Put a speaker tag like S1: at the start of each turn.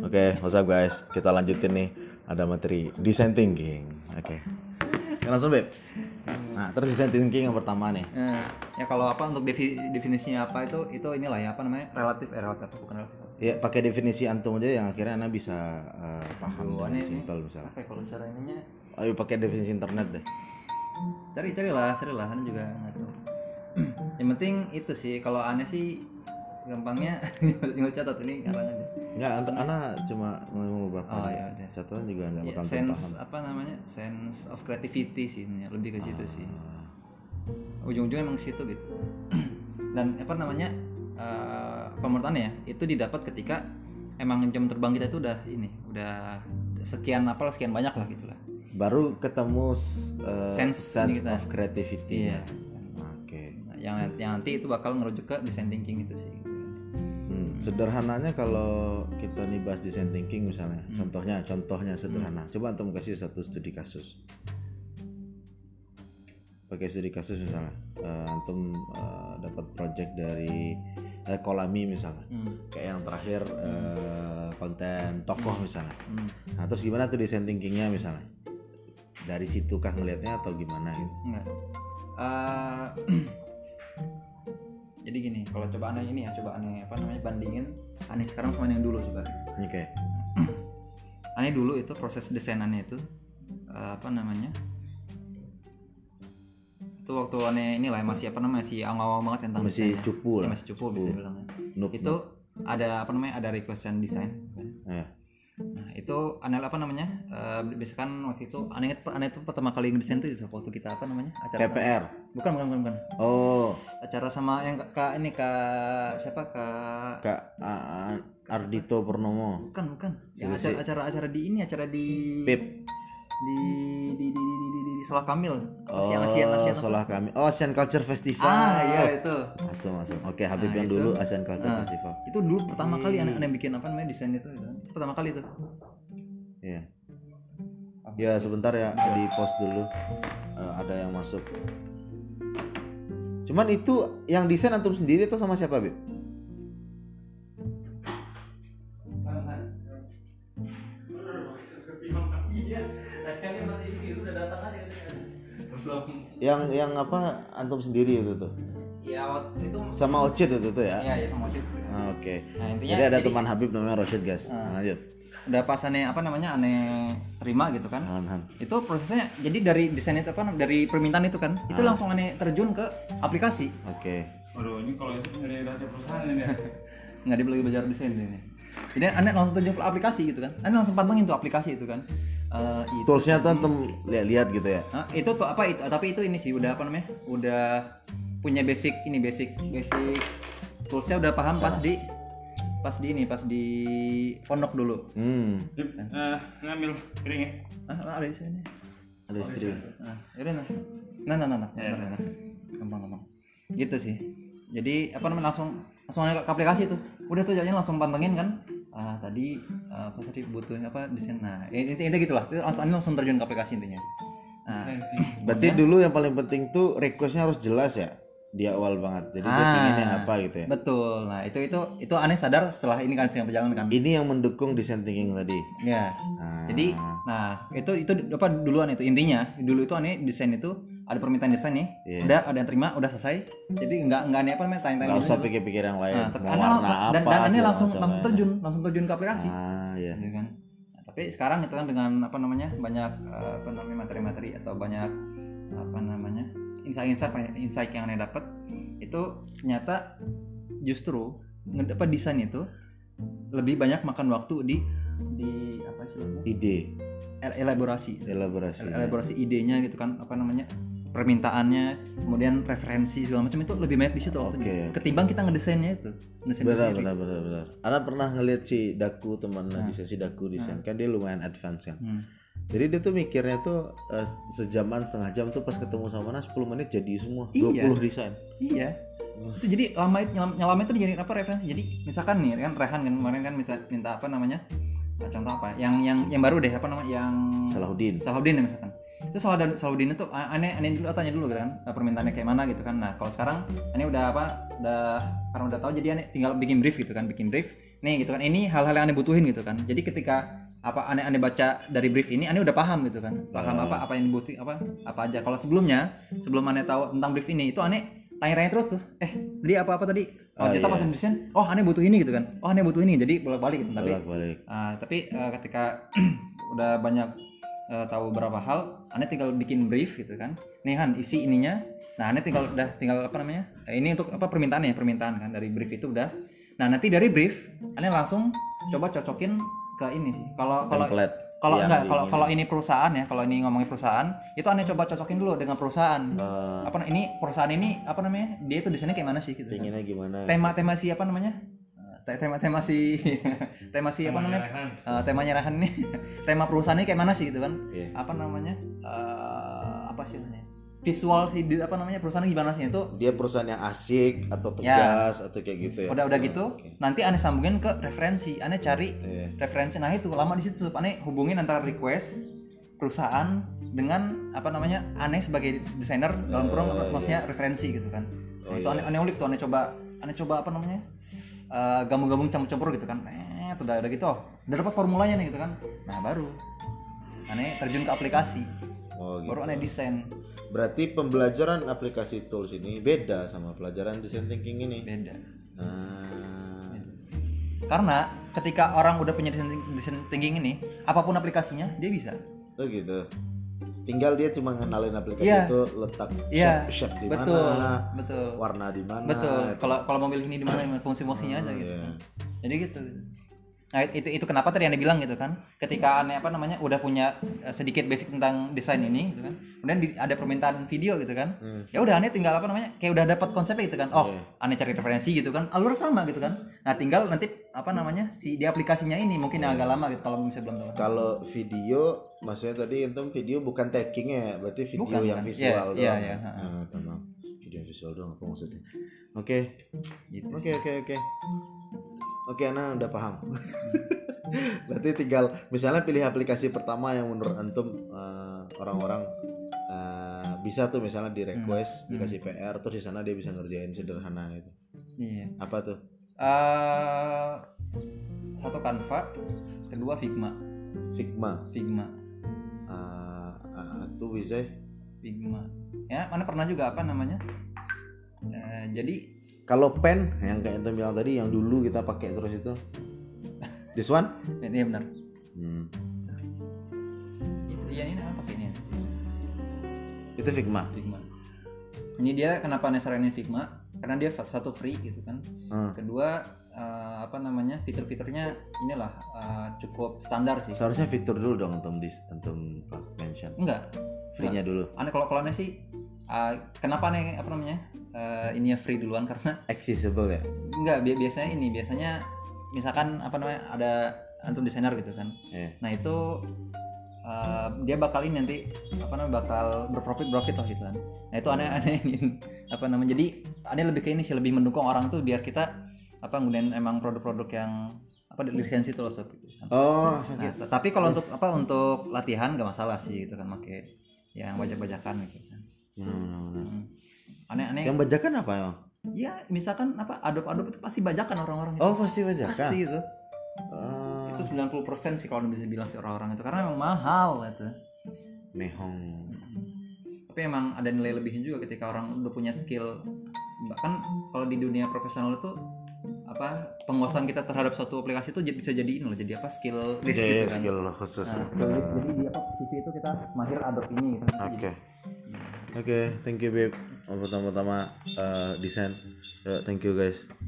S1: Oke, what's up guys? Kita lanjutin nih ada materi design thinking. Oke. Oke, Langsung Beb. Nah, terus design thinking yang pertama nih.
S2: Eh, ya kalau apa untuk defi- definisinya apa itu itu inilah ya apa namanya relatif eh relatif bukan relatif
S1: Ya, pakai definisi antum aja yang akhirnya Anda bisa eh, paham
S2: Gimana
S1: dengan
S2: ini?
S1: simpel misalnya.
S2: apa ya kalau secara ininya
S1: Ayo pakai definisi internet deh.
S2: cari carilah carilah aneh juga nggak tahu yang penting itu sih kalau aneh sih gampangnya tinggal catat ini karang aja
S1: Enggak, ant- Ana cuma ngomong beberapa.
S2: oh
S1: aja.
S2: ya udah
S1: Catatan juga enggak
S2: Ya,
S1: bakal antum
S2: sense
S1: paham.
S2: apa namanya sense of creativity sih ini, lebih ke situ sih
S1: Ah,
S2: ujung-ujungnya emang ke situ gitu dan apa namanya eh apa menurut Anda ya itu didapat ketika emang jam terbang kita itu udah ini udah sekian apalah sekian banyak lah gitu lah
S1: Baru ketemu s- eh,
S2: Sense
S1: sense
S2: ini kita.
S1: of creativity.
S2: Iya.
S1: Oke.
S2: Nah, yang yang nanti itu bakal ngerujuk ke design thinking itu sih
S1: Hmm, sederhananya kalau kita nih bahas design thinking misalnya,
S2: Hmm.
S1: contohnya, contohnya sederhana. Coba antum kasih satu studi kasus. Pakai studi kasus misalnya, eh, antum eh, dapat project dari eh, Kolami misalnya,
S2: Hmm,
S1: kayak yang terakhir eh, konten tokoh misalnya.
S2: hmm.
S1: Nah terus gimana tuh design thinkingnya misalnya? Dari situ kah ngelihatnya atau gimana? Gitu?
S2: Enggak. Eh, jadi gini, kalau coba aneh ini ya, coba aneh apa namanya bandingin aneh sekarang sama yang dulu coba.
S1: Oke.
S2: Aneh dulu itu proses desainannya itu eh, apa namanya? Itu waktu aneh inilah ya, masih apa namanya masih awang-awang banget kan tentang
S1: Masih
S2: desainnya.
S1: cupu
S2: Ya,
S1: lah.
S2: masih cupu bisa
S1: cupu.
S2: dibilang. ya.
S1: Noob,
S2: Itu ada apa namanya ada requestan desain.
S1: Eh.
S2: kan? Nah itu aneh apa namanya? Eh biasa kan waktu itu aneh aneh itu pertama kali ngedesain itu waktu kita apa namanya
S1: noob.
S2: acara
S1: PPR.
S2: bukan bukan bukan bukan
S1: Oh,
S2: acara sama yang kak ini kak siapa kak
S1: Kak A- A- Ardito Purnomo.
S2: bukan bukan
S1: Si-
S2: Ya,
S1: si-
S2: acara, acara acara di ini acara di
S1: Pip.
S2: di di di di di, di, di, di Salah Kamil Apa
S1: Oh,
S2: sih yang Asian Asian apa?
S1: salah kami. Oh, Asian Culture Festival.
S2: ah iya itu
S1: Asem, asem. Oke, Habib
S2: Nah,
S1: yang
S2: itu.
S1: dulu Asian Culture
S2: Nah.
S1: Festival.
S2: itu dulu pertama kali
S1: Hmm.
S2: anak anak bikin apa namanya desain itu, gitu. Itu pertama kali itu
S1: Iya.
S2: Apa?
S1: Ya, sebentar ya di post dulu. Eh, ada yang masuk. Cuman itu yang desain antum sendiri atau sama siapa, Bib? Yang yang apa antum sendiri itu tuh.
S2: ya waktu itu
S1: Sama Ocit itu tuh ya.
S2: ya ya sama Ocit.
S1: Ah, Oke.
S2: nah intinya
S1: Jadi ada teman Habib namanya Roshid, guys. Nah,
S2: Ah.
S1: Lanjut.
S2: udah pas aneh apa namanya aneh terima gitu kan
S1: Han, han.
S2: itu prosesnya jadi dari desain itu apa dari permintaan itu kan itu
S1: Hmm.
S2: langsung aneh terjun ke aplikasi
S1: Oke.
S3: Waduh, ini kalau itu dari rahasia perusahaan ini ya.
S2: nggak dia lagi belajar desain ini jadi aneh langsung terjun ke aplikasi gitu kan aneh langsung pantengin tuh aplikasi itu kan Eh, itu
S1: Toolsnya tuh antum lihat-lihat gitu ya.
S2: Hah, itu tuh apa itu tapi itu ini sih udah apa namanya udah punya basic ini basic basic toolsnya udah paham pas di pas di ini pas di pondok dulu
S1: Hmm.
S3: Yuk, eh, ngambil piring ya.
S2: ah ada di sini
S1: Ada istri.
S2: Nah, yaudah nah. Nah, nah, nah, nah, bentar, nah. Gampang, gampang. Gitu sih. Jadi apa namanya langsung langsung naik ke aplikasi tuh. Udah tuh jadinya langsung pantengin kan. Ah, tadi ah, apa tadi butuh apa desain. Nah, intinya intinya gitulah. Itu langsung langsung terjun ke aplikasi intinya. Nah,
S1: Berarti dulu yang paling penting tuh requestnya harus jelas ya di awal banget. Jadi dia
S2: Ah.
S1: pinginnya apa gitu ya.
S2: betul. Nah, itu itu itu aneh sadar setelah ini kan sedang berjalan kan.
S1: Ini yang mendukung design thinking tadi.
S2: Ya.
S1: Nah,
S2: Jadi, nah itu itu apa duluan itu intinya dulu itu aneh desain itu ada permintaan desain nih,
S1: Iya.
S2: udah ada yang terima, udah selesai. Jadi nggak nggak aneh apa namanya tanya-tanya
S1: nggak
S2: dulu
S1: usah
S2: gitu.
S1: pikir-pikir yang lain.
S2: Nah, tapi
S1: Mau
S2: Anda
S1: warna
S2: lang-
S1: apa?
S2: dan, dan Anda
S1: segala
S2: langsung
S1: macam
S2: langsung
S1: lainnya.
S2: terjun langsung terjun ke aplikasi
S1: Ah ya.
S2: gitu kan Nah, tapi sekarang gitu kan dengan apa namanya banyak eh, apa namanya materi-materi atau banyak apa namanya insight-insight apa ya, insight yang Anda dapat itu nyata justru ngedapat desain itu lebih banyak makan waktu di di apa sih namanya?
S1: Ide,
S2: El- elaborasi
S1: elaborasi.
S2: El- elaborasi idenya gitu kan apa namanya permintaannya kemudian referensi segala macam itu lebih banyak di situ waktunya
S1: Oke.
S2: ketimbang kita ngedesainnya itu ngedesain itu
S1: Benar,
S2: sendiri.
S1: benar, benar, benar. Anda pernah ngeliat si Daku teman
S2: Nah.
S1: di sesi Daku desain kan dia lumayan advance kan.
S2: Hmm.
S1: Jadi dia tuh mikirnya tuh eh, sejaman setengah jam tuh pas ketemu sama Nas 10 menit jadi semua
S2: Iya.
S1: 20 desain.
S2: Iya.
S1: Wah.
S2: Itu jadi lama nyelam, nyelam itu dijadiin apa referensi. Jadi misalkan nih kan Rehan kan kemarin kan bisa minta apa namanya? Nah, Contoh apa? Yang yang yang baru deh apa namanya? Yang
S1: Salahuddin.
S2: Salahuddin ya misalkan. Itu Salahuddin, Salahuddin itu a- aneh aneh dulu tanya dulu gitu kan eh, permintaannya kayak mana gitu kan. Nah, kalau sekarang aneh udah apa? Udah karena udah tahu jadi aneh tinggal bikin brief gitu kan, bikin brief. nih gitu kan ini hal-hal yang aneh butuhin gitu kan jadi ketika apa aneh aneh baca dari brief ini aneh udah paham gitu kan paham
S1: Ah.
S2: apa apa yang dibutuhin apa apa aja kalau sebelumnya sebelum aneh tahu tentang brief ini itu aneh tanya-tanya terus tuh eh tadi apa apa tadi oh
S1: Ah,
S2: ternyata
S1: iya.
S2: pas desain oh aneh butuh ini gitu kan oh aneh butuh ini jadi bolak-balik gitu tapi
S1: balik
S2: Ah, tapi eh, ketika udah banyak eh, tahu berapa hal, aneh tinggal bikin brief gitu kan. Nih Han, isi ininya. Nah, aneh tinggal udah tinggal apa namanya? eh, ini untuk apa permintaan ya, permintaan kan dari brief itu udah. Nah, nanti dari brief aneh langsung coba cocokin ke ini sih. Kalau kalau
S1: template
S2: kalau
S1: yang
S2: enggak kalau
S1: diinginin.
S2: kalau ini perusahaan ya, kalau ini ngomongin perusahaan, itu aneh coba cocokin dulu dengan perusahaan.
S1: Eh,
S2: Apa ini perusahaan ini apa namanya? Dia itu desainnya kayak mana sih gitu. kan.
S1: pinginnya gimana
S2: Tema-tema si apa namanya? Eh, Tema-tema si tema si apa namanya? Eh, temanya Rahan nih tema perusahaannya kayak mana sih gitu kan
S1: Iya.
S2: apa namanya Eh, apa sih namanya visual sih di- apa namanya perusahaannya gimana sih itu
S1: dia perusahaan yang asik atau
S2: Ya.
S1: tegas atau kayak gitu ya
S2: udah udah gitu
S1: Oke.
S2: nanti aneh sambungin ke referensi aneh cari
S1: Iya.
S2: referensi nah itu lama di situ Sup. aneh hubungin antara request perusahaan dengan apa namanya aneh sebagai desainer dalam kurung
S1: Eh,
S2: maksudnya referensi gitu kan
S1: Oh,
S2: Nah, itu
S1: iya.
S2: aneh aneh ulik tuh aneh coba aneh coba apa namanya eh, gabung-gabung campur-campur gitu kan eh udah udah gitu oh, udah dapat formulanya nih gitu kan nah baru aneh terjun ke aplikasi
S1: Oh, gitu.
S2: baru aneh desain
S1: berarti pembelajaran aplikasi tools ini beda sama pelajaran design thinking ini
S2: beda
S1: Ah.
S2: karena ketika orang udah punya desain desain thinking ini apapun aplikasinya dia bisa
S1: Oh gitu. Tinggal dia cuma ngenalin aplikasi
S2: Iya.
S1: itu letak
S2: Iya,
S1: shape, shape di
S2: betul
S1: mana,
S2: betul
S1: warna di mana. gitu.
S2: betul
S1: Nah, itu.
S2: kalau kalau mobil ini di mana gimana fungsi-fungsinya aja
S1: Ah,
S2: gitu
S1: iya.
S2: jadi gitu nah itu itu kenapa tadi anda bilang gitu kan ketika aneh apa namanya udah punya eh, sedikit basic tentang desain ini gitu kan kemudian di- ada permintaan video gitu kan
S1: Hmm.
S2: ya udah aneh tinggal apa namanya kayak udah dapat konsepnya gitu kan oh
S1: Iya.
S2: aneh cari referensi gitu kan alur sama gitu kan nah tinggal nanti apa namanya si di aplikasinya ini mungkin yang agak lama gitu kalau misalnya belum tahu
S1: Kalau video, maksudnya tadi itu video bukan tagging ya, berarti video
S2: Bukan,
S1: yang
S2: bukan.
S1: visual
S2: Iya, iya,
S1: doang.
S2: iya, ha, ha.
S1: Ah, tamam. Video yang visual doang apa maksudnya? Oke,
S2: gitu
S1: oke, oke, oke. Oke, Ana udah paham.
S2: Hmm.
S1: berarti tinggal misalnya pilih aplikasi pertama yang menurut antum eh, orang-orang eh, bisa tuh misalnya di request
S2: Hmm.
S1: dikasih PR terus di sana dia bisa ngerjain sederhana gitu.
S2: iya
S1: Apa tuh?
S2: Eh, satu Canva kedua Figma
S1: Figma.
S2: Figma
S1: Ah, ah, tuh bisa.
S2: Figma ya mana pernah juga apa namanya Eh, jadi
S1: Kalau pen yang kayak antum bilang tadi yang dulu kita pakai terus itu. This one?
S2: Iya benar.
S1: Hmm.
S2: Itu iya ini apa pakainya?
S1: Itu Figma.
S2: Figma. Ini dia kenapa Anda saranin Figma? Karena dia satu free gitu kan.
S1: Ah,
S2: Kedua eh, apa namanya? Fitur-fiturnya inilah eh, cukup standar sih.
S1: Seharusnya fitur dulu dong antum dis antum ah, mention.
S2: Enggak.
S1: Free-nya dulu.
S2: Aneh kalau kalau aneh sih eh, kenapa aneh apa namanya? ini free duluan karena
S1: Accessible ya.
S2: enggak bi- biasanya ini biasanya misalkan apa namanya ada antum desainer gitu kan.
S1: Iya.
S2: Nah itu eh, dia bakal ini nanti apa namanya bakal berprofit profit lah gitu kan. Nah itu aneh aneh ingin apa namanya jadi aneh lebih ke ini sih lebih mendukung orang tuh biar kita apa nggunain emang produk-produk yang apa di lisensi tuh loh sob gitu. kan.
S1: Oh,
S2: Nah,
S1: sakit.
S2: t- tapi kalau untuk apa untuk latihan gak masalah sih gitu kan make yang bajak-bajakan gitu kan.
S1: Benar, benar, benar.
S2: Hmm. Aneh-aneh.
S1: Yang bajakan apa emang?
S2: Ya misalkan apa Adobe-Adobe itu pasti bajakan orang-orang itu.
S1: Oh, pasti bajakan.
S2: pasti itu.
S1: Ah,
S2: Itu 90% sih kalau bisa bilang sih orang-orang itu karena emang mahal itu.
S1: mehong.
S2: tapi emang ada nilai lebihnya juga ketika orang udah punya skill bahkan kalau di dunia profesional itu apa penguasaan kita terhadap suatu aplikasi itu jadi- bisa jadiin loh jadi apa skill list
S1: Iya,
S2: gitu
S1: iya,
S2: kan
S1: skill khusus.
S2: Nah, skill list, jadi di apa CV itu kita mahir adop ini gitu
S1: Oke.
S2: Jadi- iya.
S1: Oke, thank you babe. Pertama-tama eh, desain. Yo, thank you guys.